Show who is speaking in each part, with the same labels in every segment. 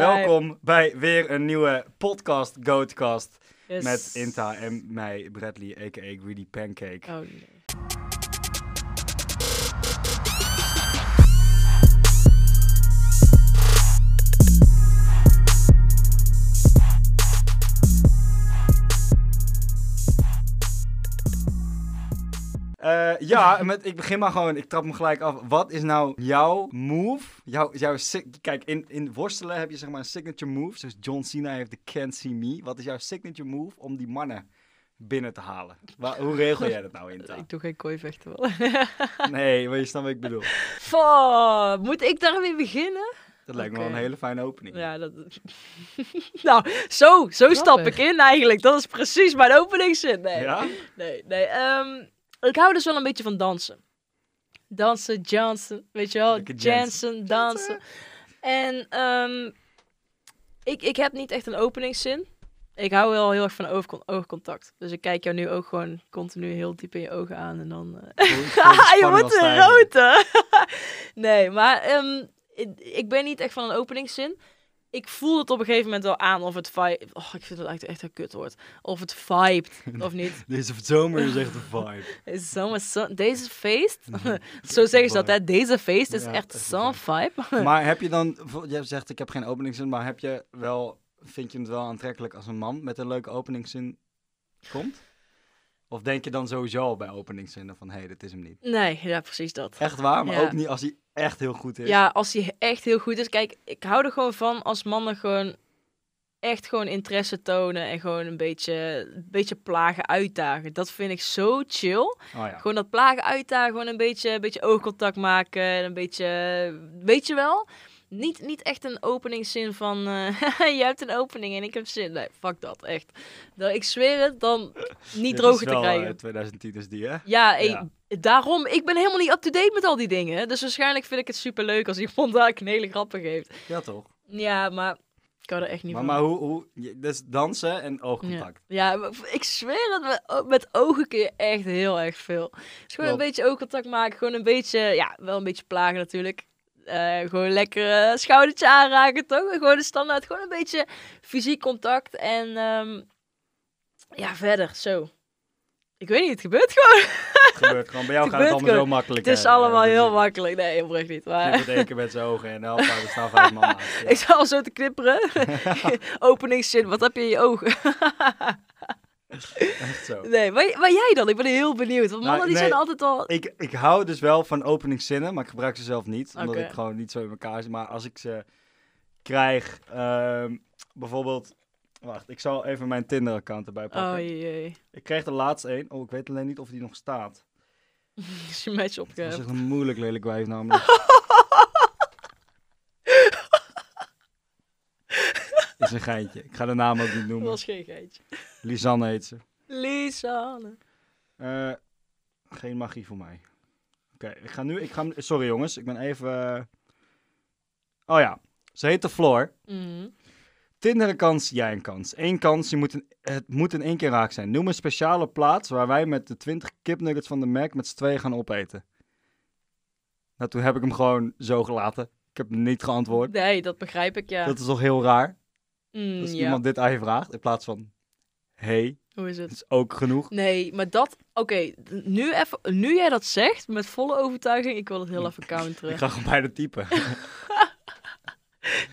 Speaker 1: Welkom bij weer een nieuwe podcast Goatcast
Speaker 2: Yes.
Speaker 1: met Inta en mij, Bradley, a.k.a. Greedy Pancake.
Speaker 2: Oh nee.
Speaker 1: Eh, ja, met, ik begin maar gewoon, ik trap me gelijk af. Wat is nou jouw move? Jouw, jouw, sig- kijk, in, in worstelen heb je zeg maar een signature move, zoals John Cena heeft de Can't See Me. Wat is jouw signature move om die mannen binnen te halen? Wa- hoe regel jij dat nou, Inta?
Speaker 2: Ik doe geen kooivechten wel.
Speaker 1: Nee, maar je snapt wat ik bedoel.
Speaker 2: Fuck, moet ik daarmee beginnen?
Speaker 1: Dat lijkt me wel een
Speaker 2: Oké.
Speaker 1: hele fijne opening.
Speaker 2: Ja, dat... nou, zo, zo stap ik in eigenlijk. Dat is precies mijn openingszin. Nee,
Speaker 1: Ja?
Speaker 2: nee, nee. ehm, ik hou dus wel een beetje van dansen. Dansen, Jansen, weet je wel.
Speaker 1: Lekker Jansen.
Speaker 2: Jansen, dansen. En ehm, ik, ik heb niet echt een openingszin. Ik hou wel heel erg van oogcon- oogcontact. Dus ik kijk jou nu ook gewoon continu heel diep in je ogen aan. En dan eh,
Speaker 1: Voel- voel de
Speaker 2: je
Speaker 1: spanning
Speaker 2: moet
Speaker 1: al
Speaker 2: een
Speaker 1: stijgen.
Speaker 2: rood, nee, maar ehm, ik, ik ben niet echt van een openingszin. Ik voel het op een gegeven moment wel aan of het vibe... Oh, ik vind het eigenlijk echt een kut woord. Of het vibet of niet.
Speaker 1: Deze zomer is echt een vibe.
Speaker 2: Het is zomaar zo- Deze feest... zo zeggen ze dat, hè. Deze feest is
Speaker 1: Ja,
Speaker 2: echt
Speaker 1: echt
Speaker 2: zo'n
Speaker 1: een
Speaker 2: vibe.
Speaker 1: Maar heb je dan, vo- jij zegt ik heb geen openingszin, maar heb je wel, vind je het wel aantrekkelijk als een man met een leuke openingszin komt? Of denk je dan sowieso al bij openingszinnen van, hé, hey, dit is hem niet?
Speaker 2: nee, ja, dus- precies dat.
Speaker 1: Echt waar, maar
Speaker 2: Ja.
Speaker 1: ook niet als hij echt heel goed is.
Speaker 2: Ja, als hij echt heel goed is. Kijk, ik hou er gewoon van als mannen gewoon echt gewoon interesse tonen en gewoon een beetje, een beetje plagen, uitdagen. Dat vind ik zo chill.
Speaker 1: Oh ja.
Speaker 2: Gewoon dat plagen, uitdagen, gewoon een beetje, een beetje oogcontact maken en een beetje, weet je wel? Niet, niet echt een openingszin van, eh je hebt een opening en ik heb zin. Nee, fuck dat, echt. Nou, ik zweer het, dan niet
Speaker 1: Dit
Speaker 2: droger
Speaker 1: is
Speaker 2: te
Speaker 1: wel,
Speaker 2: krijgen.
Speaker 1: eh, 2010 is die, hè?
Speaker 2: Ja, hey,
Speaker 1: Ja.
Speaker 2: daarom. Ik ben helemaal niet up-to-date met al die dingen. Dus waarschijnlijk vind ik het superleuk als iemand daar een hele grappen geeft.
Speaker 1: Ja, toch?
Speaker 2: Ja, maar ik kan er echt niet
Speaker 1: Maar,
Speaker 2: van.
Speaker 1: maar hoe, hoe, je- dus dansen en oogcontact.
Speaker 2: Ja, maar ik zweer het, met- met ogen kun je echt heel erg veel. Dus gewoon
Speaker 1: Klopt.
Speaker 2: een beetje oogcontact maken. Gewoon een beetje, ja, wel een beetje plagen natuurlijk. Eh, gewoon lekker eh, schoudertje aanraken, toch? Gewoon de standaard, gewoon een beetje fysiek contact. En ehm, ja, verder, zo. Ik weet niet, het gebeurt gewoon.
Speaker 1: Het gebeurt gewoon, bij jou
Speaker 2: Het
Speaker 1: gaat het
Speaker 2: gebeurt
Speaker 1: allemaal zo makkelijk.
Speaker 2: Het is
Speaker 1: hè?
Speaker 2: allemaal
Speaker 1: Ja, dus
Speaker 2: heel
Speaker 1: je
Speaker 2: makkelijk. Nee, oprecht niet. Maar...
Speaker 1: knippert één keer met zijn ogen en help, er staan vijf mannen. naast. Ja.
Speaker 2: Ik zal zo te knipperen. Openingszin, wat heb je in je ogen?
Speaker 1: Echt zo.
Speaker 2: nee, maar, maar jij dan? Ik ben heel benieuwd. Want mannen die
Speaker 1: Nou, nee.
Speaker 2: zijn altijd al...
Speaker 1: Ik, ik hou dus wel van openingszinnen, maar ik gebruik ze zelf niet. Omdat
Speaker 2: Oké.
Speaker 1: ik gewoon niet zo in elkaar zit. Maar als ik ze krijg, ehm, bijvoorbeeld... Wacht, ik zal even mijn Tinder-account erbij
Speaker 2: Oh
Speaker 1: pakken.
Speaker 2: jee,
Speaker 1: Ik kreeg de laatste één. Oh, ik weet alleen niet of die nog staat.
Speaker 2: is je match eh,
Speaker 1: Dat is
Speaker 2: opgeheven.
Speaker 1: echt een moeilijk lelijk wijf namelijk. is een geintje. Ik ga de naam ook niet
Speaker 2: Dat
Speaker 1: noemen.
Speaker 2: was geen geitje.
Speaker 1: Lisanne heet ze.
Speaker 2: Lisanne.
Speaker 1: Eh, geen magie voor mij. Oké, ik ga nu. Ik ga, sorry jongens, ik ben even. eh, Oh ja, ze heet de Floor.
Speaker 2: Mhm.
Speaker 1: Tinder een kans, jij een kans. Eén kans, je moet een, het moet in één keer raak zijn. Noem een speciale plaats waar wij met de 20 kipnuggets van de Mac met z'n tweeën gaan opeten. Nou, toen heb ik hem gewoon zo gelaten. Ik heb niet geantwoord.
Speaker 2: Nee, dat begrijp ik, ja.
Speaker 1: Dat is toch heel raar?
Speaker 2: Mm,
Speaker 1: Als
Speaker 2: ja.
Speaker 1: iemand dit aan je vraagt, in plaats van... hey,
Speaker 2: Hoe is
Speaker 1: dat
Speaker 2: het?
Speaker 1: is ook genoeg.
Speaker 2: Nee, maar dat... Oké, nu, even- nu jij dat zegt, met volle overtuiging, ik wil het heel even counteren.
Speaker 1: Mm. Ik ga gewoon bij de typen.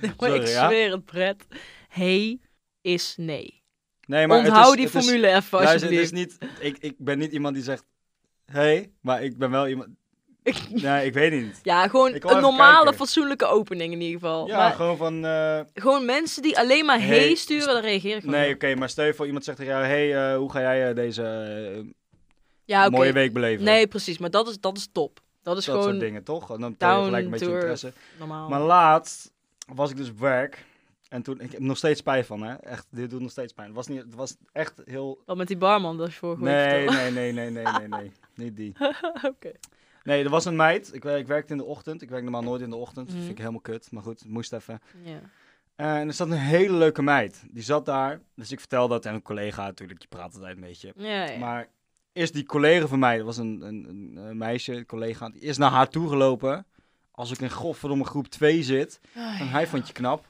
Speaker 2: Nee, maar ik
Speaker 1: Sorry, ja?
Speaker 2: zweer het, Brett. Hey is nee.
Speaker 1: Nee, maar het
Speaker 2: Onthoud
Speaker 1: is-
Speaker 2: die
Speaker 1: het is-
Speaker 2: formule even,
Speaker 1: Luister, het
Speaker 2: alsjeblieft.
Speaker 1: is niet, ik, ik ben niet iemand die zegt, hey, maar ik ben wel iemand, nee, ik weet niet.
Speaker 2: Ja, gewoon
Speaker 1: Ik wil
Speaker 2: een
Speaker 1: even
Speaker 2: normale,
Speaker 1: kijken.
Speaker 2: fatsoenlijke opening in ieder geval.
Speaker 1: Ja,
Speaker 2: Oh, maar gewoon...
Speaker 1: gewoon van, eh,
Speaker 2: mensen die alleen maar hey,
Speaker 1: Hey,
Speaker 2: sturen, daar reageer ik gewoon
Speaker 1: nee, oké,
Speaker 2: op.
Speaker 1: maar stel je voor iemand zegt tegen jou, hey, eh, hoe ga jij eh, deze eh,
Speaker 2: Ja, Nou, oké.
Speaker 1: mooie week beleven?
Speaker 2: Nee, precies, maar dat is, dat is top. Dat is
Speaker 1: dat
Speaker 2: gewoon
Speaker 1: soort dingen, toch? En dan tel je
Speaker 2: down Oh.
Speaker 1: gelijk een beetje
Speaker 2: to earth.
Speaker 1: interesse.
Speaker 2: normaal.
Speaker 1: Maar laatst was ik dus op werk en toen, ik heb nog steeds spijt van, hè, echt, dit doet nog steeds pijn. Het was, niet, het was echt heel,
Speaker 2: Wat met die barman, dat is vorige week
Speaker 1: nee,
Speaker 2: verteld.
Speaker 1: nee, nee, nee, nee, nee, nee, niet die.
Speaker 2: Oké.
Speaker 1: Nee, er was een meid, ik, wer- ik werkte in de ochtend, ik werk normaal nooit in de ochtend, dat vind ik
Speaker 2: Mhm.
Speaker 1: helemaal kut, maar goed, het moest even.
Speaker 2: Ja.
Speaker 1: Eh, en er zat een hele leuke meid. Die zat daar. Dus ik vertel dat aan een collega natuurlijk. Je praat altijd een beetje.
Speaker 2: Ja, ja.
Speaker 1: Maar is die collega van mij, dat was een, een, een, een meisje, een collega, die is naar haar toe gelopen. Als ik in godverdomme groep 2 zit.
Speaker 2: Ah,
Speaker 1: En hij vond je knap.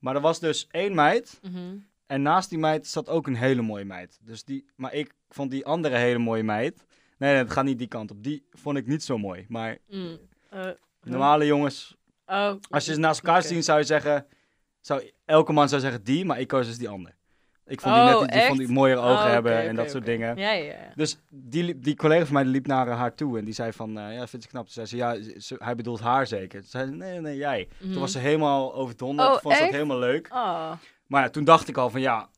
Speaker 1: Maar er was dus één meid.
Speaker 2: Mhm.
Speaker 1: En naast die meid zat ook een hele mooie meid. Dus die, maar ik vond die andere hele mooie meid. Nee, nee, het gaat niet die kant op. Die vond ik niet zo mooi. Maar
Speaker 2: Mm. Eh,
Speaker 1: normale jongens,
Speaker 2: oh.
Speaker 1: als je ze naast elkaar
Speaker 2: Oké.
Speaker 1: ziet, zou je zeggen. Zou, elke man zou zeggen die, maar ik koos dus die andere. Ik vond die
Speaker 2: Oh,
Speaker 1: net die, die, vond
Speaker 2: echt?
Speaker 1: die mooiere
Speaker 2: Oh,
Speaker 1: ogen
Speaker 2: oké,
Speaker 1: hebben en
Speaker 2: oké,
Speaker 1: dat soort
Speaker 2: oké.
Speaker 1: dingen.
Speaker 2: Ja, ja, ja.
Speaker 1: Dus die, liep- die collega van mij liep naar eh, haar toe en die zei van, eh, ja, vind je knap? Toen zei ze, ja, ze- ze- hij bedoelt haar zeker. Toen zei ze, nee, nee, jij.
Speaker 2: Mhm.
Speaker 1: Toen was ze helemaal overdonderd,
Speaker 2: Hmm. Oh,
Speaker 1: Toen vond ze dat
Speaker 2: echt?
Speaker 1: helemaal leuk.
Speaker 2: Oh,
Speaker 1: Maar ja, toen dacht ik al van, ja,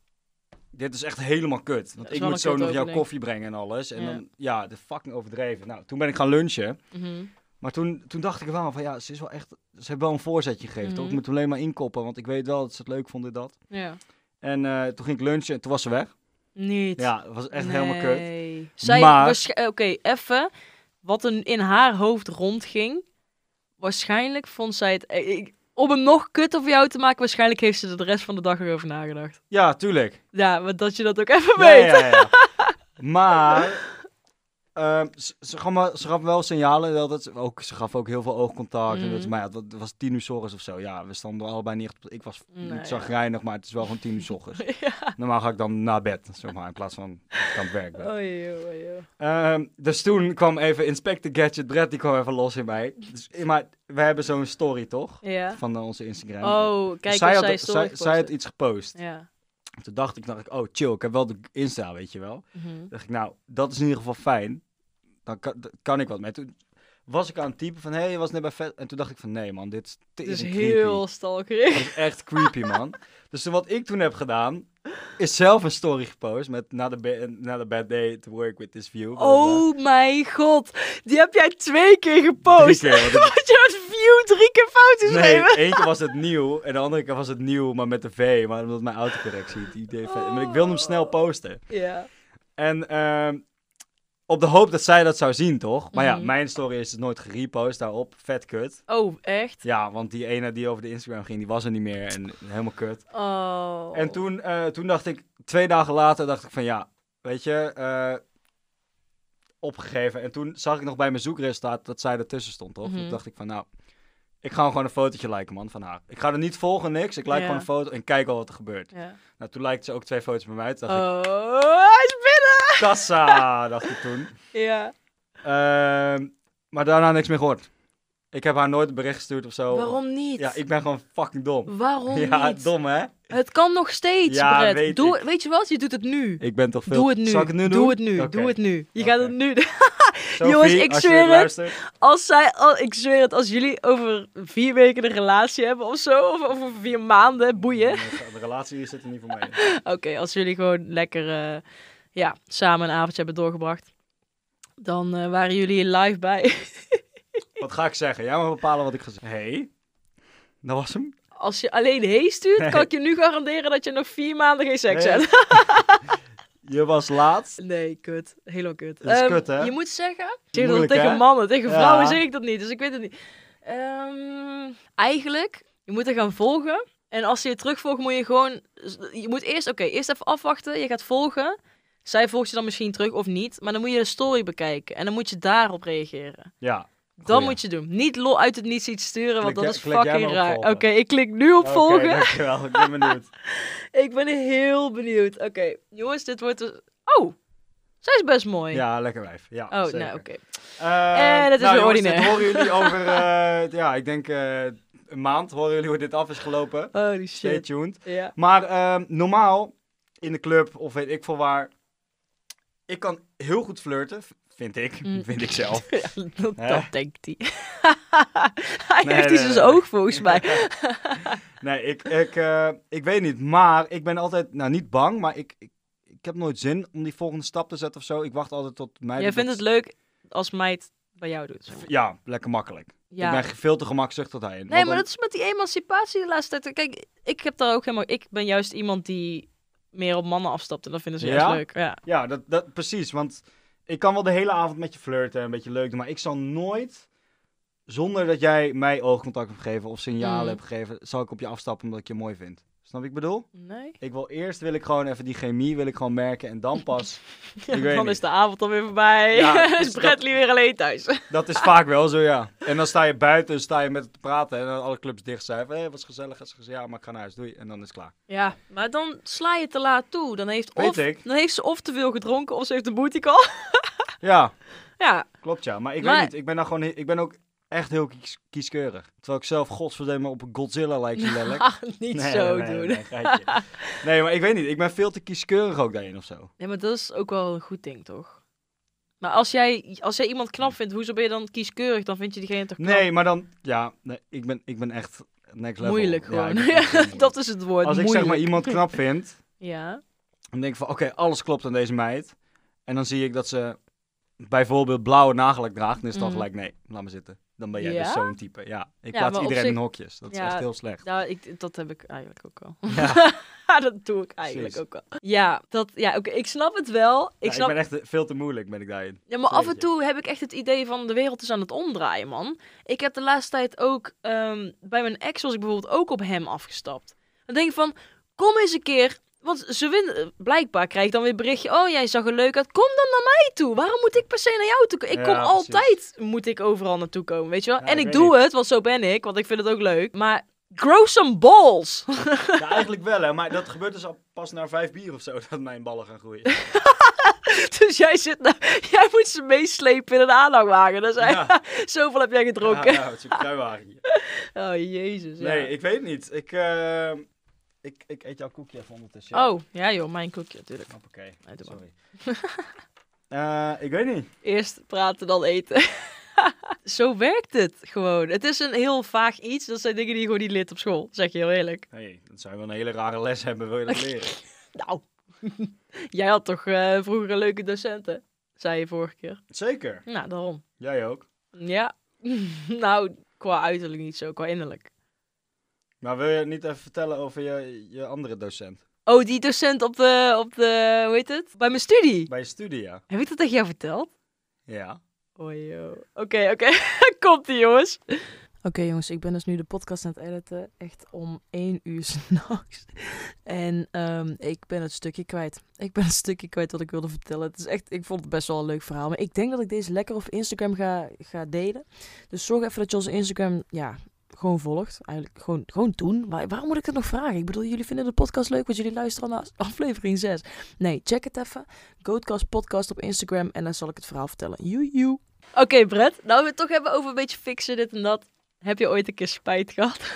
Speaker 1: dit is echt helemaal kut. Want
Speaker 2: is
Speaker 1: ik
Speaker 2: wel
Speaker 1: moet
Speaker 2: een
Speaker 1: zo nog jouw
Speaker 2: kutopening.
Speaker 1: koffie brengen en alles. En
Speaker 2: Ja.
Speaker 1: dan, ja, de fucking overdreven. Nou, toen ben ik gaan lunchen.
Speaker 2: mhm.
Speaker 1: Maar toen, toen dacht ik wel van, ja, ze is wel echt, ze hebben wel een voorzetje gegeven. toch?
Speaker 2: Mhm.
Speaker 1: Ik moet hem alleen maar inkoppen, want ik weet wel dat ze het leuk vonden, dat.
Speaker 2: ja.
Speaker 1: En eh, toen ging ik lunchen en toen was ze weg.
Speaker 2: Niet.
Speaker 1: Ja, dat was echt helemaal kut.
Speaker 2: Nee. Zij,
Speaker 1: Maar-
Speaker 2: waarsch- eh, Oké, even. Wat er in haar hoofd rondging. Waarschijnlijk vond zij het... eh, ik- om hem nog kut over jou te maken, waarschijnlijk heeft ze er de rest van de dag erover nagedacht.
Speaker 1: Ja, tuurlijk.
Speaker 2: Ja, maar dat je dat ook even
Speaker 1: Ja,
Speaker 2: weet.
Speaker 1: ja, ja, ja. maar ehm, ze, ze, gaf me- ze gaf wel signalen. Wel dat ze, ook, ze gaf ook heel veel oogcontact. En dat
Speaker 2: Mhm.
Speaker 1: ze, maar ja, dat was tien uur 's ochtends of zo. Ja, we stonden allebei niet echt op- Ik was
Speaker 2: Nee,
Speaker 1: niet zagrijnig, maar het is wel gewoon tien uur 's ochtends.
Speaker 2: Ja.
Speaker 1: Normaal ga ik dan naar bed, zeg maar, in plaats van dat ik aan het werk ben.
Speaker 2: Oh, joh, oh, joh.
Speaker 1: Ehm, dus toen kwam even Inspector Gadget Brett, die kwam even los in mij. Dus, maar we hebben zo'n story, toch?
Speaker 2: Ja.
Speaker 1: Van eh, onze Instagram.
Speaker 2: Oh, kijk
Speaker 1: Dus
Speaker 2: zij
Speaker 1: zij,
Speaker 2: wat
Speaker 1: had,
Speaker 2: zij
Speaker 1: zij,
Speaker 2: story
Speaker 1: zij had
Speaker 2: gepost
Speaker 1: iets gepost.
Speaker 2: heeft. Ja.
Speaker 1: Toen dacht ik, dacht ik, oh chill, ik heb wel de Insta, weet je wel.
Speaker 2: Mhm.
Speaker 1: dacht ik, nou, dat is in ieder geval fijn. Dan kan, dan kan ik wat mee. Toen was ik aan het typen van, hé, hey, je was net bij vet. En toen dacht ik van, nee man, dit is,
Speaker 2: Het
Speaker 1: dit
Speaker 2: is
Speaker 1: is
Speaker 2: Dus heel
Speaker 1: heel...
Speaker 2: stalkerig.
Speaker 1: Dit is echt creepy, man. Dus toen- wat ik toen heb gedaan, is zelf een story gepost met na de bad day to work with this view. bla, bla, bla.
Speaker 2: Oh mijn god. Die heb jij twee keer gepost.
Speaker 1: Drie keer, want
Speaker 2: Wat je het view drie keer fout is
Speaker 1: Nee,
Speaker 2: gegeven.
Speaker 1: één keer was het nieuw en de andere keer was het nieuw, maar met de V. Maar omdat mijn autocorrectie het idee... Maar ik wilde hem snel posten.
Speaker 2: Ja.
Speaker 1: En ehm, op de hoop dat zij dat zou zien, toch? Maar ja,
Speaker 2: Mhm.
Speaker 1: mijn story is dus nooit gerepost daarop. Vet kut.
Speaker 2: Oh, echt?
Speaker 1: Ja, want die ene die over de Instagram ging, die was er niet meer. En helemaal kut.
Speaker 2: Oh.
Speaker 1: En toen, eh, toen dacht ik, twee dagen later dacht ik van ja, weet je, eh, opgegeven. En toen zag ik nog bij mijn zoekresultaat dat zij ertussen stond, toch?
Speaker 2: Mhm.
Speaker 1: Toen dacht ik van nou, ik ga gewoon een fotootje liken, man, van haar. Ik ga er niet volgen, niks. Ik like
Speaker 2: Ja.
Speaker 1: gewoon een foto en kijk al wat er gebeurt.
Speaker 2: Ja.
Speaker 1: Nou, toen likte ze ook twee foto's bij mij. Toen dacht
Speaker 2: Oh, hij is binnen!
Speaker 1: ik, kassa, dacht ik toen.
Speaker 2: Ja.
Speaker 1: Ehm, maar daarna niks meer gehoord. Ik heb haar nooit een bericht gestuurd of zo.
Speaker 2: Waarom niet?
Speaker 1: Oh. Ja, ik ben gewoon fucking dom.
Speaker 2: Waarom
Speaker 1: ja,
Speaker 2: niet?
Speaker 1: dom hè?
Speaker 2: Het kan nog steeds,
Speaker 1: Ja,
Speaker 2: Brett.
Speaker 1: weet
Speaker 2: Doe,
Speaker 1: ik.
Speaker 2: Weet je wat? Je doet het nu.
Speaker 1: Ik ben toch veel...
Speaker 2: Doe het nu.
Speaker 1: Zal ik het nu
Speaker 2: doe
Speaker 1: doen?
Speaker 2: het nu.
Speaker 1: Oké.
Speaker 2: Doe het nu. Je
Speaker 1: Oké.
Speaker 2: gaat het nu. doen.
Speaker 1: Sophie,
Speaker 2: Jongens, ik
Speaker 1: als je
Speaker 2: zweer
Speaker 1: dit
Speaker 2: het.
Speaker 1: luistert,
Speaker 2: Als zij, al, ik zweer het, als jullie over vier weken een relatie hebben of zo, of over vier maanden, boeien.
Speaker 1: De, de relatie zit er niet voor mij. in.
Speaker 2: Oké, als jullie gewoon lekker eh, ja, samen een avondje hebben doorgebracht, dan eh, waren jullie hier live bij.
Speaker 1: Wat ga ik zeggen? Jij mag bepalen wat ik ga zeggen. Hé, hey, dat was hem.
Speaker 2: Als je alleen heen stuurt,
Speaker 1: Nee.
Speaker 2: kan ik je nu garanderen dat je nog vier maanden geen seks
Speaker 1: Nee.
Speaker 2: hebt.
Speaker 1: Je was laat.
Speaker 2: Nee, kut. Helemaal kut.
Speaker 1: Dat is
Speaker 2: Ehm,
Speaker 1: kut, hè?
Speaker 2: Je moet zeggen... Ik zeg dat
Speaker 1: Moeilijk,
Speaker 2: tegen
Speaker 1: hè?
Speaker 2: mannen, tegen
Speaker 1: Ja.
Speaker 2: vrouwen zeg ik dat niet, dus ik weet het niet. Ehm, eigenlijk, je moet er gaan volgen. En als ze je terugvolgt, moet je gewoon... Je moet eerst, oké, eerst even afwachten. Je gaat volgen. Zij volgt je dan misschien terug of niet. Maar dan moet je de story bekijken. En dan moet je daarop reageren.
Speaker 1: Ja.
Speaker 2: Dat
Speaker 1: Goeie.
Speaker 2: moet je doen. Niet lol uit het niets iets sturen, want
Speaker 1: Klik
Speaker 2: dat
Speaker 1: jij-
Speaker 2: is
Speaker 1: klik jij
Speaker 2: fucking
Speaker 1: maar op
Speaker 2: raar. Oké,
Speaker 1: volgen.
Speaker 2: ik klik nu op volgen.
Speaker 1: Oké, dankjewel. Ik ben benieuwd.
Speaker 2: Ik ben heel benieuwd. Oké, jongens, dit wordt... dus- Oh, zij is best mooi.
Speaker 1: Ja, lekker wijf. Ja,
Speaker 2: oh,
Speaker 1: zeker.
Speaker 2: nou, oké.
Speaker 1: Eh,
Speaker 2: Eh, dat is
Speaker 1: nou,
Speaker 2: weer
Speaker 1: jongens, dit
Speaker 2: ordinair.
Speaker 1: horen jullie over, eh, ja, ik denk eh, een maand horen jullie hoe dit af is gelopen.
Speaker 2: Holy
Speaker 1: Stay
Speaker 2: shit.
Speaker 1: tuned.
Speaker 2: Ja.
Speaker 1: Maar ehm, normaal, in de club of weet ik veel waar, ik kan heel goed flirten, v- vind ik.
Speaker 2: Mm.
Speaker 1: Vind ik zelf.
Speaker 2: Ja, dat,
Speaker 1: Hè?
Speaker 2: dat denkt hij. hij
Speaker 1: Nee,
Speaker 2: heeft
Speaker 1: nee,
Speaker 2: iets in
Speaker 1: nee,
Speaker 2: zijn
Speaker 1: nee.
Speaker 2: oog volgens mij.
Speaker 1: Nee, ik, ik, eh, ik weet niet. Maar ik ben altijd, nou niet bang, maar ik, ik, ik heb nooit zin om die volgende stap te zetten of zo. Ik wacht altijd tot mij.
Speaker 2: Jij vindt het leuk als meid bij jou doet.
Speaker 1: Ja, lekker makkelijk.
Speaker 2: Ja.
Speaker 1: Ik ben ge- veel te gemakzuchtig daarin.
Speaker 2: Nee,
Speaker 1: Want
Speaker 2: maar
Speaker 1: dan-
Speaker 2: dat is met die emancipatie de laatste tijd. Kijk, ik heb daar ook helemaal. Ik ben juist iemand die meer op mannen afstapt en dat vinden ze juist
Speaker 1: Ja?
Speaker 2: leuk. Ja.
Speaker 1: Ja, dat, dat, precies. Want ik kan wel de hele avond met je flirten en een beetje leuk doen, maar ik zal nooit... Zonder dat jij mij oogcontact hebt gegeven of signalen
Speaker 2: Mm.
Speaker 1: hebt gegeven, zal ik op je afstappen omdat ik je mooi vind. Snap je wat ik bedoel?
Speaker 2: Nee.
Speaker 1: Ik wil eerst wil ik gewoon even die chemie wil ik gewoon merken en dan pas.
Speaker 2: Ja,
Speaker 1: Ik weet
Speaker 2: dan
Speaker 1: niet.
Speaker 2: is de avond alweer voorbij.
Speaker 1: Ja, dus
Speaker 2: is Bradley weer alleen thuis.
Speaker 1: Dat is vaak wel zo, ja. En dan sta je buiten, sta je met het te praten en dan alle clubs dicht zijn. Van, hey, was gezellig. En ze zeggen, ja, maar ik ga naar huis. Doei. En dan is het klaar.
Speaker 2: Ja, maar dan sla je te laat toe. Dan heeft,
Speaker 1: Weet
Speaker 2: of,
Speaker 1: ik.
Speaker 2: dan heeft ze of te veel gedronken of ze heeft de booty call.
Speaker 1: Ja,
Speaker 2: Ja,
Speaker 1: klopt ja. Maar ik
Speaker 2: Maar-
Speaker 1: weet niet. Ik ben, nou gewoon, he- ik ben ook echt heel kies- kieskeurig. Terwijl ik zelf godsverdomme op een Godzilla lijk zo lelijk.
Speaker 2: Ah, niet zo
Speaker 1: nee,
Speaker 2: doen.
Speaker 1: Nee, geitje. nee, maar ik weet niet. Ik ben veel te kieskeurig ook daarin of zo.
Speaker 2: Nee, maar dat is ook wel een goed ding, toch? Maar als jij, als jij iemand knap vindt, hoezo ben je dan kieskeurig? Dan vind je diegene toch knap?
Speaker 1: Nee, maar dan... Ja, nee, ik, ben, ik ben echt next level.
Speaker 2: moeilijk
Speaker 1: Ja, ik
Speaker 2: gewoon.
Speaker 1: ben echt moeilijk.
Speaker 2: dat is het woord,
Speaker 1: Als ik
Speaker 2: moeilijk.
Speaker 1: zeg maar iemand knap vind,
Speaker 2: Ja,
Speaker 1: dan denk ik van... Oké, alles klopt aan deze meid. En dan zie ik dat ze bijvoorbeeld blauwe nagellak draagt. Dan is het dan
Speaker 2: Mhm.
Speaker 1: gelijk, nee, laat maar zitten. Dan ben jij
Speaker 2: Ja?
Speaker 1: dus zo'n type. Ja, ik
Speaker 2: Ja,
Speaker 1: plaats
Speaker 2: maar op
Speaker 1: iedereen in
Speaker 2: zich-
Speaker 1: hokjes. Dat is
Speaker 2: Ja,
Speaker 1: echt heel slecht.
Speaker 2: nou, ik, dat heb ik eigenlijk ook wel.
Speaker 1: Ja.
Speaker 2: dat doe ik eigenlijk
Speaker 1: Precies.
Speaker 2: ook wel. Ja, dat, ja oké, ik snap het wel. Ik
Speaker 1: Ja,
Speaker 2: snap
Speaker 1: ben echt eh, veel te moeilijk, ben ik daarin.
Speaker 2: Ja, maar af en
Speaker 1: Jeetje.
Speaker 2: toe heb ik echt het idee van de wereld is aan het omdraaien, man. Ik heb de laatste tijd ook ehm, bij mijn ex was ik bijvoorbeeld ook op hem afgestapt. Dan denk ik van, kom eens een keer. Want ze winnen, blijkbaar krijg ik dan weer een berichtje. Oh, jij zag er leuk uit. Kom dan naar mij toe. Waarom moet ik per se naar jou toe komen? Ik
Speaker 1: Ja,
Speaker 2: kom
Speaker 1: precies.
Speaker 2: altijd, moet ik overal naartoe komen, weet je wel?
Speaker 1: Ja,
Speaker 2: en
Speaker 1: ik
Speaker 2: ik
Speaker 1: weet
Speaker 2: doe het, want zo ben ik, want ik vind het ook leuk. Maar grow some balls.
Speaker 1: Ja, eigenlijk wel, hè. Maar dat gebeurt dus al pas na vijf bier of zo, dat mijn ballen gaan groeien.
Speaker 2: dus jij, zit nou, jij moet ze meeslepen in een aanhangwagen. Dat is eigenlijk- Zoveel heb jij gedronken.
Speaker 1: Ja, ja, het is een kruiwagen.
Speaker 2: Oh, jezus. ja.
Speaker 1: Nee, ik weet niet. Ik, eh, ik, ik eet jouw koekje even ondertussen.
Speaker 2: Oh, ja joh, mijn koekje natuurlijk.
Speaker 1: Hoppakee.
Speaker 2: Nee, doe maar.
Speaker 1: Sorry. Eh, ik weet niet.
Speaker 2: Eerst praten, dan eten. Zo werkt het gewoon. Het is een heel vaag iets. Dat zijn dingen die je gewoon niet leert op school, zeg je heel eerlijk.
Speaker 1: hey, dat zou je wel een hele rare les hebben, wil je dat leren?
Speaker 2: Nou, jij had toch eh, vroeger een leuke docenten, zei je vorige keer.
Speaker 1: Zeker.
Speaker 2: Nou, daarom.
Speaker 1: Jij ook.
Speaker 2: Ja, nou, qua uiterlijk niet zo, qua innerlijk.
Speaker 1: Maar wil je het niet even vertellen over je, je andere docent?
Speaker 2: Oh, die docent op de, op de, hoe heet het? Bij mijn studie.
Speaker 1: Bij je studie, ja.
Speaker 2: Heb ik dat tegen jou verteld?
Speaker 1: Ja.
Speaker 2: Oh joh. Oké, oké. Komt ie, jongens. Oké, jongens. Ik ben dus nu de podcast aan het editen. Echt om één uur s'nachts. En ehm, ik ben het stukje kwijt. Ik ben het stukje kwijt wat ik wilde vertellen. Het is echt, ik vond het best wel een leuk verhaal. Maar ik denk dat ik deze lekker op Instagram ga, ga delen. Dus zorg even dat je onze Instagram, ja... Gewoon volgt. Eigenlijk gewoon, gewoon doen. Waar- waarom moet ik dat nog vragen? Ik bedoel, jullie vinden de podcast leuk, want jullie luisteren al naar aflevering 6. Nee, check het even. Goatcast Podcast op Instagram en dan zal ik het verhaal vertellen. Joejoe. Oké, Brett. Nou, we het toch hebben over een beetje fixen, dit en dat. Heb je ooit een keer spijt gehad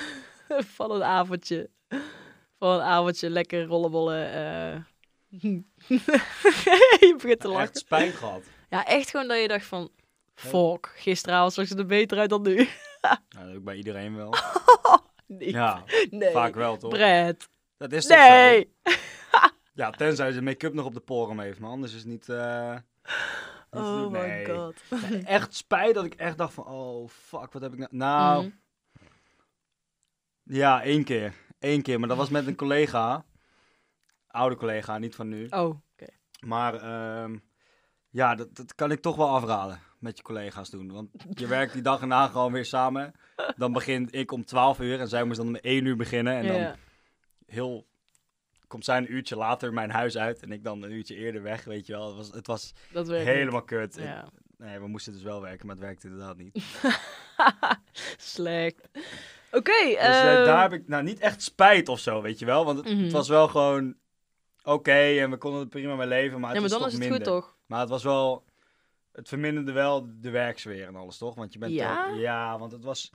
Speaker 2: van een avondje? Van een avondje lekker rollenbollen. eh. je begint te lachen.
Speaker 1: Echt spijt gehad.
Speaker 2: Ja, echt gewoon dat je dacht van... Fuck, gisteravond zag ze er beter uit dan nu.
Speaker 1: Nou, dat ook bij iedereen wel.
Speaker 2: Nee,
Speaker 1: Ja,
Speaker 2: nee.
Speaker 1: vaak wel, toch?
Speaker 2: Brett,
Speaker 1: Dat is toch zo?
Speaker 2: nee.
Speaker 1: Ja, tenzij ze make-up nog op de poren heeft, maar anders is het niet... eh, niet te
Speaker 2: Oh
Speaker 1: doen.
Speaker 2: my
Speaker 1: Nee.
Speaker 2: god.
Speaker 1: Nee, Echt spijt dat ik echt dacht van, oh fuck, wat heb ik nou... Nou,
Speaker 2: Mm.
Speaker 1: ja, één keer. Eén keer, maar dat was met een collega. Oude collega, niet van nu.
Speaker 2: Oh, oké.
Speaker 1: Maar ehm, ja, dat, dat kan ik toch wel afraden met je collega's doen. Want je werkt die dag en na gewoon weer samen. Dan begin ik om 12 uur en zij moest dan om 1 uur beginnen. En dan
Speaker 2: Ja.
Speaker 1: heel. Komt zij een uurtje later mijn huis uit en ik dan een uurtje eerder weg, weet je wel. Het was, het was
Speaker 2: dat werkt niet.
Speaker 1: helemaal kut. Ik-
Speaker 2: Ja.
Speaker 1: nee, we moesten dus wel werken, maar het werkte inderdaad niet. Dus
Speaker 2: Slecht. Oké,
Speaker 1: eh,
Speaker 2: ehm,
Speaker 1: daar heb ik nou niet echt spijt of zo, weet je wel. Want het, het
Speaker 2: Mhm.
Speaker 1: was wel gewoon oké en we konden er prima mee leven, maar het
Speaker 2: ja, maar
Speaker 1: is
Speaker 2: dan
Speaker 1: toch
Speaker 2: is het
Speaker 1: minder.
Speaker 2: goed, toch?
Speaker 1: Maar het was wel... Het verminderde wel de werksfeer en alles, toch? Want je bent
Speaker 2: Ja?
Speaker 1: toch- ja, want het was...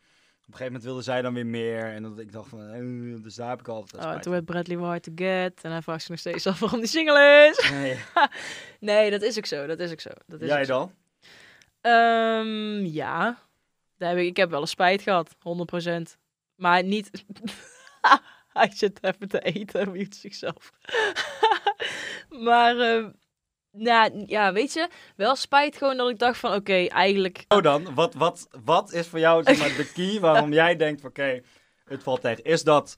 Speaker 1: Op een gegeven moment wilde zij dan weer meer. En dat ik dacht van... eh, Dus daar heb ik altijd
Speaker 2: Oh, en
Speaker 1: spijt
Speaker 2: toen werd Bradley wel hard to get. En hij vraagt zich nog steeds af waarom die single is.
Speaker 1: van. Nee.
Speaker 2: Nee, dat is ook zo. Dat is ook zo. Dat is
Speaker 1: Jij
Speaker 2: ook zo.
Speaker 1: dan?
Speaker 2: Ehm, ja. Daar heb ik, ik heb wel eens spijt gehad. 100%. Maar niet... hij zit even te eten en mute zichzelf. maar... ehm, nou, ja, weet je, wel spijt gewoon dat ik dacht van, oké, eigenlijk...
Speaker 1: Oh dan, wat, wat, wat is voor jou zeg maar, de key waarom jij denkt van... Oké, het valt tegen. Is dat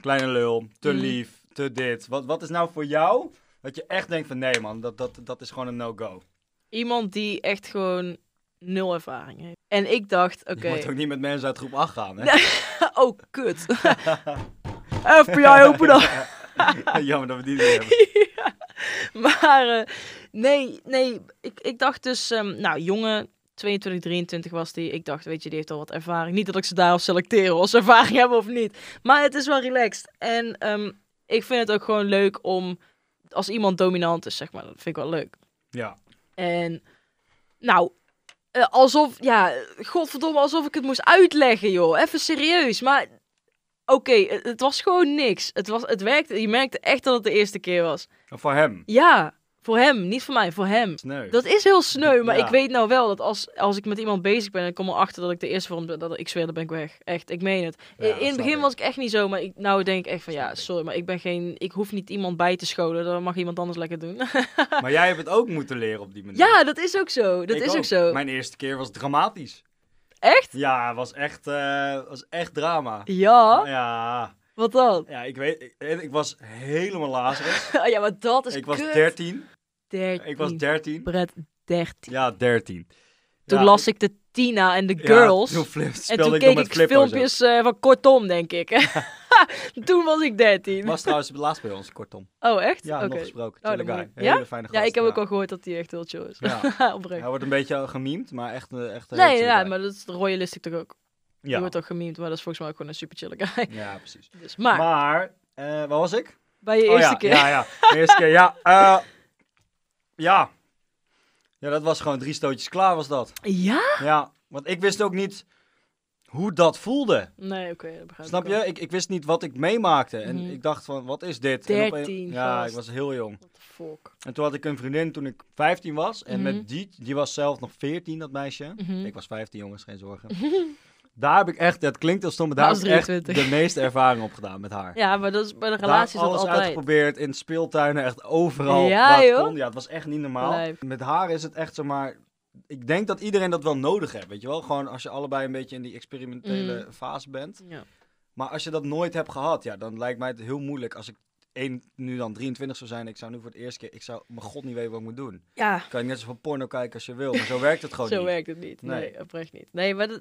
Speaker 1: kleine lul, te
Speaker 2: Mm.
Speaker 1: lief, te dit? Wat, wat is nou voor jou... Dat je echt denkt van nee man, dat, dat, dat is gewoon een no-go.
Speaker 2: Iemand die echt gewoon nul ervaring heeft. En ik dacht, oké...
Speaker 1: Je moet ook niet met mensen uit groep 8 gaan, hè?
Speaker 2: Oh, kut. FBI, open dan.
Speaker 1: Jammer dat we die niet hebben.
Speaker 2: Maar eh, nee, nee ik, ik dacht dus, ehm, nou, jongen, 22, 23 was die. Ik dacht, weet je, die heeft al wat ervaring. Niet dat ik ze daarop selecteer of ze ervaring hebben of niet. Maar het is wel relaxed. En ehm, ik vind het ook gewoon leuk om, als iemand dominant is, zeg maar, dat vind ik wel leuk.
Speaker 1: Ja.
Speaker 2: En nou, eh, alsof, ja, godverdomme, alsof ik het moest uitleggen, joh. Even serieus. Maar oké, het, het was gewoon niks. Het, was, het werkte, je merkte echt dat het de eerste keer was.
Speaker 1: Nou, Voor hem.
Speaker 2: Ja, voor hem, niet voor mij, voor hem.
Speaker 1: Sneu.
Speaker 2: Dat is heel sneu, maar
Speaker 1: Ja.
Speaker 2: ik weet nou wel dat als, als ik met iemand bezig ben en ik kom erachter dat ik de eerste vorm ben, dat ik zweer, dan ben ik weg. Echt, ik meen het.
Speaker 1: Ja,
Speaker 2: in
Speaker 1: snap
Speaker 2: het begin
Speaker 1: ik.
Speaker 2: was ik echt niet zo, maar ik, nou denk ik echt van ja,
Speaker 1: Snap ik.
Speaker 2: sorry, maar ik ben geen, ik hoef niet iemand bij te scholen, dat mag iemand anders lekker doen.
Speaker 1: Maar jij hebt het ook moeten leren op die manier.
Speaker 2: ja, dat is ook zo, dat
Speaker 1: Ik
Speaker 2: is ook zo.
Speaker 1: Mijn eerste keer was dramatisch.
Speaker 2: Echt?
Speaker 1: Ja, was echt, eh, was echt drama.
Speaker 2: Ja,
Speaker 1: Ja,
Speaker 2: wat dan?
Speaker 1: ja, ik weet, ik, en ik was helemaal lazarus.
Speaker 2: ja, maar dat is
Speaker 1: Ik was
Speaker 2: kut.
Speaker 1: 13.
Speaker 2: 13.
Speaker 1: Ik was 13.
Speaker 2: Brett, 13.
Speaker 1: Ja, 13.
Speaker 2: Toen
Speaker 1: Ja,
Speaker 2: las ik de Tina en de
Speaker 1: ja,
Speaker 2: Girls.
Speaker 1: toen flip,
Speaker 2: En
Speaker 1: speelde
Speaker 2: toen
Speaker 1: ik
Speaker 2: keek
Speaker 1: nog
Speaker 2: ik
Speaker 1: met Flippo's ook.
Speaker 2: filmpjes eh, van Kortom, denk ik. toen was ik 13.
Speaker 1: Was trouwens het laatst bij ons, kortom.
Speaker 2: Oh, echt?
Speaker 1: Ja,
Speaker 2: Oké.
Speaker 1: nog gesproken.
Speaker 2: Oh,
Speaker 1: Chille
Speaker 2: dat
Speaker 1: guy.
Speaker 2: moet ik-
Speaker 1: Hele fijne
Speaker 2: Ja,
Speaker 1: gast,
Speaker 2: ik heb ook al gehoord dat hij echt heel chill is.
Speaker 1: Ja.
Speaker 2: Oprecht.
Speaker 1: Hij wordt een beetje gememd, maar echt, een- echt een hele
Speaker 2: nee,
Speaker 1: chille
Speaker 2: ja,
Speaker 1: guy.
Speaker 2: maar dat is royalistic toch ook. Je
Speaker 1: ja.
Speaker 2: wordt toch gememd, maar dat is volgens mij ook gewoon een super chille guy.
Speaker 1: ja, precies.
Speaker 2: Dus, maar,
Speaker 1: Maar, eh waar was ik?
Speaker 2: bij je
Speaker 1: Oh
Speaker 2: eerste
Speaker 1: ja,
Speaker 2: keer.
Speaker 1: Ja, ja. De eerste keer, ja. eh, ja. Ja, dat was gewoon drie stootjes klaar was dat.
Speaker 2: Ja?
Speaker 1: Ja, want ik wist ook niet hoe dat voelde.
Speaker 2: Nee, oké, dat begrijp
Speaker 1: Snap
Speaker 2: ik wel.
Speaker 1: je? Ik, ik wist niet wat ik meemaakte. En
Speaker 2: Mhm.
Speaker 1: ik dacht van, wat is dit? En opeen-
Speaker 2: 13
Speaker 1: Ja,
Speaker 2: gast.
Speaker 1: ik was heel jong.
Speaker 2: What the fuck.
Speaker 1: En toen had ik een vriendin toen ik 15 was. En
Speaker 2: Mhm.
Speaker 1: met die, die was zelf nog 14, dat meisje.
Speaker 2: Mhm.
Speaker 1: Ik was 15, jongens, geen zorgen. daar heb ik echt, dat klinkt heel stom, maar daar
Speaker 2: Maar
Speaker 1: heb ik
Speaker 2: als
Speaker 1: echt
Speaker 2: 23.
Speaker 1: de meeste ervaring op gedaan met haar.
Speaker 2: Ja, maar dat is, bij de
Speaker 1: Daar
Speaker 2: relatie is dat
Speaker 1: alles
Speaker 2: altijd.
Speaker 1: uitgeprobeerd, in speeltuinen, echt overal.
Speaker 2: Ja,
Speaker 1: waar het
Speaker 2: joh.
Speaker 1: kon. Ja, het was echt niet normaal.
Speaker 2: Lijp.
Speaker 1: Met haar is het echt zomaar... Ik denk dat iedereen dat wel nodig heeft, weet je wel? Gewoon als je allebei een beetje in die experimentele
Speaker 2: Mm.
Speaker 1: fase bent.
Speaker 2: Ja.
Speaker 1: Maar als je dat nooit hebt gehad, ja, dan lijkt mij het heel moeilijk. Als ik één, nu dan 23 zou zijn, ik zou nu voor het eerst keer... Ik zou mijn god niet weten wat ik moet doen.
Speaker 2: ja,
Speaker 1: Kan je net zoveel porno kijken als je wil, maar zo werkt het gewoon
Speaker 2: zo
Speaker 1: niet.
Speaker 2: werkt het niet. Nee,
Speaker 1: Nee.
Speaker 2: oprecht niet. Nee, maar dat...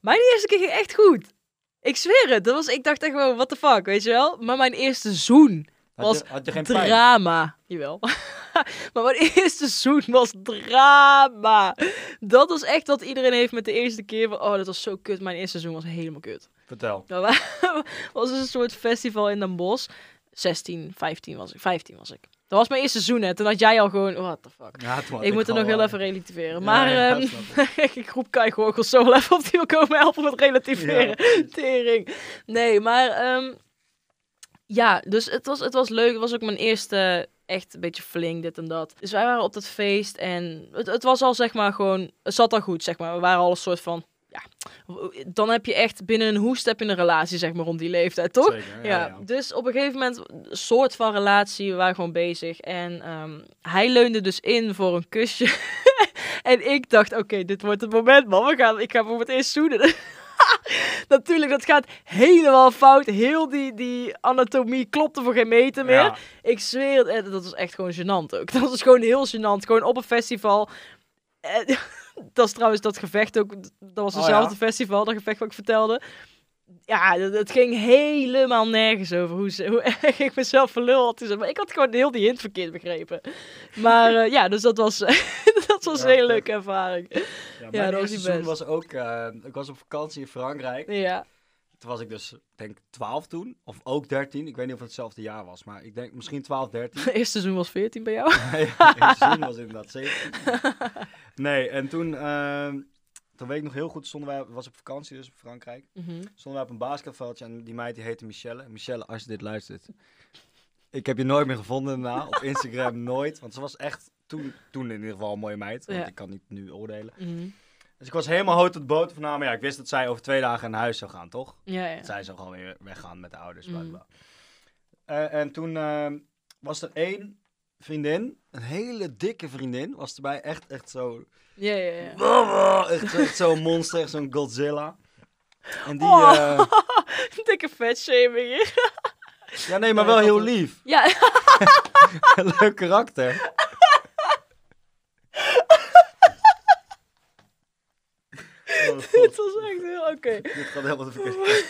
Speaker 2: mijn eerste keer ging echt goed. Ik zweer het. Dat was, ik dacht echt gewoon, what the fuck, weet je wel? Maar mijn eerste zoen
Speaker 1: Had je, had je geen pijn?
Speaker 2: drama. Jawel. maar mijn eerste zoen was drama. Dat was echt wat iedereen heeft met de eerste keer. Van, oh, dat was zo kut. Mijn eerste zoen was helemaal kut.
Speaker 1: Vertel.
Speaker 2: Dat wa- was dus een soort festival in Den Bosch. 16, 15 was ik. 15 was ik. Dat was mijn eerste zoen, hè. Toen had jij al gewoon... What the fuck.
Speaker 1: Ja, toen had
Speaker 2: Ik moet er nog
Speaker 1: gewoon-
Speaker 2: heel even relativeren.
Speaker 1: Ja,
Speaker 2: Maar
Speaker 1: ja,
Speaker 2: ehm,
Speaker 1: snap
Speaker 2: ik roep Kai Gorgels zo wel even op die wil komen helpen met relativeren.
Speaker 1: Ja,
Speaker 2: Tering. Nee, maar ehm, ja, dus het was, het was leuk. Het was ook mijn eerste echt een beetje flink, dit en dat. Dus wij waren op dat feest en het, het was al zeg maar gewoon, het zat al goed zeg maar. We waren al een soort van, ja, dan heb je echt binnen een hoest heb je een relatie zeg maar rond die leeftijd, toch?
Speaker 1: Zeker,
Speaker 2: Ja, dus op een gegeven moment, een soort van relatie, we waren gewoon bezig. En ehm, hij leunde dus in voor een kusje. en ik dacht, oké, dit wordt het moment, man. We gaan, ik ga voor het eerst zoenen. Natuurlijk, dat gaat helemaal fout. Heel die, die anatomie klopte voor geen meter meer.
Speaker 1: Ja.
Speaker 2: Ik zweer, het, eh, dat was echt gewoon gênant ook. Dat was gewoon heel gênant. Gewoon op een festival. Eh, dat is trouwens dat gevecht ook. Dat was
Speaker 1: Oh,
Speaker 2: hetzelfde
Speaker 1: ja?
Speaker 2: festival, dat gevecht wat ik vertelde. Ja, dat- het ging helemaal nergens over hoe, ze, hoe erg ik mezelf voor lul had gezet. Maar ik had gewoon heel die hint verkeerd begrepen. Maar eh, ja, dus dat was, dat was
Speaker 1: Ja,
Speaker 2: een hele
Speaker 1: echt.
Speaker 2: leuke ervaring.
Speaker 1: Ja,
Speaker 2: dat
Speaker 1: mijn
Speaker 2: was
Speaker 1: eerste
Speaker 2: niet
Speaker 1: seizoen
Speaker 2: best.
Speaker 1: was ook... eh, ik was op vakantie in Frankrijk.
Speaker 2: Ja,
Speaker 1: Toen was ik dus, denk 12 toen. Of ook 13. Ik weet niet of het hetzelfde jaar was. Maar ik denk misschien 12, 13.
Speaker 2: het eerste seizoen was 14 bij jou.
Speaker 1: ja, het seizoen was inderdaad 17. Nee, en toen... ehm toen weet ik nog heel goed, stonden wij, was op vakantie dus in Frankrijk.
Speaker 2: Mhm,
Speaker 1: Stonden wij op een basketveldje en die meid die heette Michelle. Michelle, als je dit luistert. Ik heb je nooit meer gevonden daarna. Op Instagram nooit. Want ze was echt toen, toen in ieder geval een mooie meid. Want
Speaker 2: Ja.
Speaker 1: ik kan niet nu oordelen.
Speaker 2: Mhm.
Speaker 1: Dus ik was helemaal hout tot boot van haar. Maar ja, ik wist dat zij over twee dagen naar huis zou gaan, toch?
Speaker 2: Ja, ja.
Speaker 1: Zij zou gewoon weer weggaan met de ouders.
Speaker 2: Mm.
Speaker 1: bla, bla. Eh, en toen eh, was er één vriendin, een hele dikke vriendin, was erbij echt, echt zo...
Speaker 2: Ja, ja, ja.
Speaker 1: Echt, zo- echt zo'n monster, echt zo'n Godzilla. En die...
Speaker 2: Oh.
Speaker 1: eh,
Speaker 2: Dikke vetshaming hier.
Speaker 1: ja, nee, maar wel heel lief.
Speaker 2: Ja,
Speaker 1: Leuk karakter. Oh, god.
Speaker 2: het was echt heel... Oké.
Speaker 1: Oh, Dit gaat helemaal de verkeerde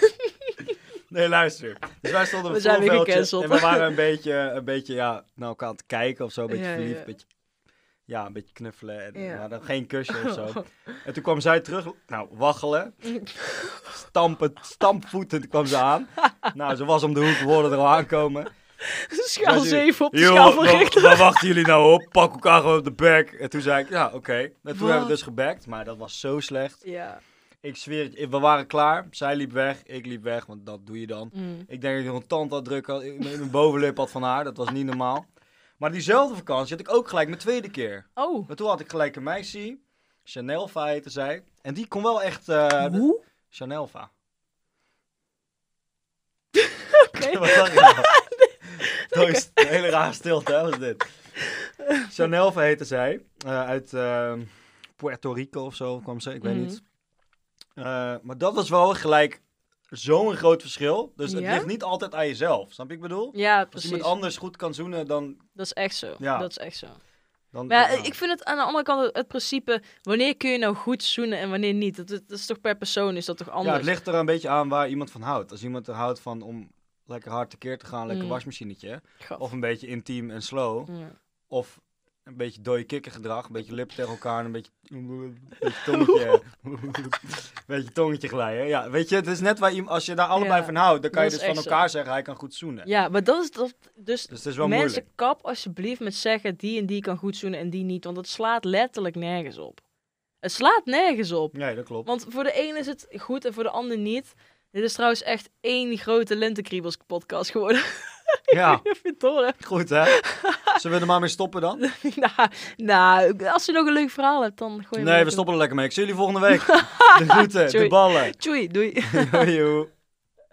Speaker 1: kant. Nee, luister. Dus wij stonden op
Speaker 2: We
Speaker 1: het
Speaker 2: zijn weer
Speaker 1: voorveldje
Speaker 2: gecanceld.
Speaker 1: en we waren een beetje, een beetje ja, naar elkaar aan het kijken of zo. Een beetje
Speaker 2: Ja, ja,
Speaker 1: verliefd,
Speaker 2: ja.
Speaker 1: Een beetje, ja, een beetje knuffelen. En,
Speaker 2: Ja. Oh.
Speaker 1: Maar dan geen kusje of zo. En toen kwam zij terug, nou, waggelen. Stampend, stampvoetend kwam ze aan. Nou, ze was om de hoek, we hoorden er al aankomen.
Speaker 2: Schaal
Speaker 1: Toen zei ze,
Speaker 2: 7 op de
Speaker 1: "Yo,
Speaker 2: schaal van
Speaker 1: wa-
Speaker 2: Richter.
Speaker 1: Waar wachten jullie nou op? Pak elkaar gewoon op de bek. En toen zei ik, ja, oké. En toen hebben we
Speaker 2: Wat?
Speaker 1: dus gebackt, maar dat was zo slecht.
Speaker 2: Ja.
Speaker 1: Ik zweer het, je, we waren klaar. Zij liep weg, ik liep weg, want dat doe je dan.
Speaker 2: Mm.
Speaker 1: Ik denk dat ik nog een tandartdruk had, in mijn bovenlip had van haar. Dat was niet normaal. Maar diezelfde vakantie had ik ook gelijk mijn tweede keer.
Speaker 2: Oh.
Speaker 1: Maar toen had ik gelijk een meisje, Chanelva heette zij. En die kon wel echt... eh de-
Speaker 2: Hoe?
Speaker 1: Chanelva.
Speaker 2: Oké.
Speaker 1: Wat dacht je nou? Dat is een hele rare stilte, hè, was dit. Chanelva heette zij. eh, uit eh, Puerto Rico of zo kwam ze, ik weet
Speaker 2: Mhm.
Speaker 1: niet. Eh, maar dat was wel gelijk zo'n groot verschil. Dus het
Speaker 2: Ja?
Speaker 1: ligt niet altijd aan jezelf, snap je wat ik bedoel?
Speaker 2: Ja,
Speaker 1: Als
Speaker 2: precies.
Speaker 1: iemand anders goed kan zoenen, dan...
Speaker 2: Dat is echt zo.
Speaker 1: Ja.
Speaker 2: Dat is echt zo.
Speaker 1: dan
Speaker 2: Maar ja,
Speaker 1: ja.
Speaker 2: ik vind het aan de andere kant het- het principe... wanneer kun je nou goed zoenen en wanneer niet? Dat, dat is toch per persoon is dat toch
Speaker 1: Ja,
Speaker 2: anders?
Speaker 1: het ligt er een beetje aan waar iemand van houdt. Als iemand er houdt van om lekker hard tekeer te gaan, lekker
Speaker 2: Mm.
Speaker 1: wasmachinetje.
Speaker 2: Gaf.
Speaker 1: Of een beetje intiem en slow.
Speaker 2: Ja.
Speaker 1: Of een beetje dode kikkergedrag. Een beetje lip tegen elkaar en een beetje, een beetje tongetje. beetje tongetje glijden. Ja, weet je, het is net waar iemand... Als je daar allebei
Speaker 2: Ja,
Speaker 1: van houdt, dan kan je
Speaker 2: dat
Speaker 1: dus
Speaker 2: is
Speaker 1: van
Speaker 2: echt
Speaker 1: elkaar zeggen, hij kan goed zoenen.
Speaker 2: Ja, maar dat is dat. Dus
Speaker 1: Dus het is wel
Speaker 2: mensen
Speaker 1: moeilijk.
Speaker 2: kap alsjeblieft met zeggen die en die kan goed zoenen en die niet, want het slaat letterlijk nergens op. Het slaat nergens op.
Speaker 1: Nee, dat klopt.
Speaker 2: Want voor de ene is het goed en voor de ander niet. Dit is trouwens echt één grote lentekriebels podcast geworden.
Speaker 1: Ja,
Speaker 2: Heb je het door, hè?
Speaker 1: goed hè. Zullen we er maar mee stoppen dan?
Speaker 2: nou, nou, als je nog een leuk verhaal hebt, dan gooi je
Speaker 1: Nee,
Speaker 2: hem
Speaker 1: we
Speaker 2: even-
Speaker 1: stoppen er lekker mee. Ik zie jullie volgende week. De groeten, de
Speaker 2: Sorry.
Speaker 1: ballen.
Speaker 2: Tjoei, doei.
Speaker 1: Joejoe.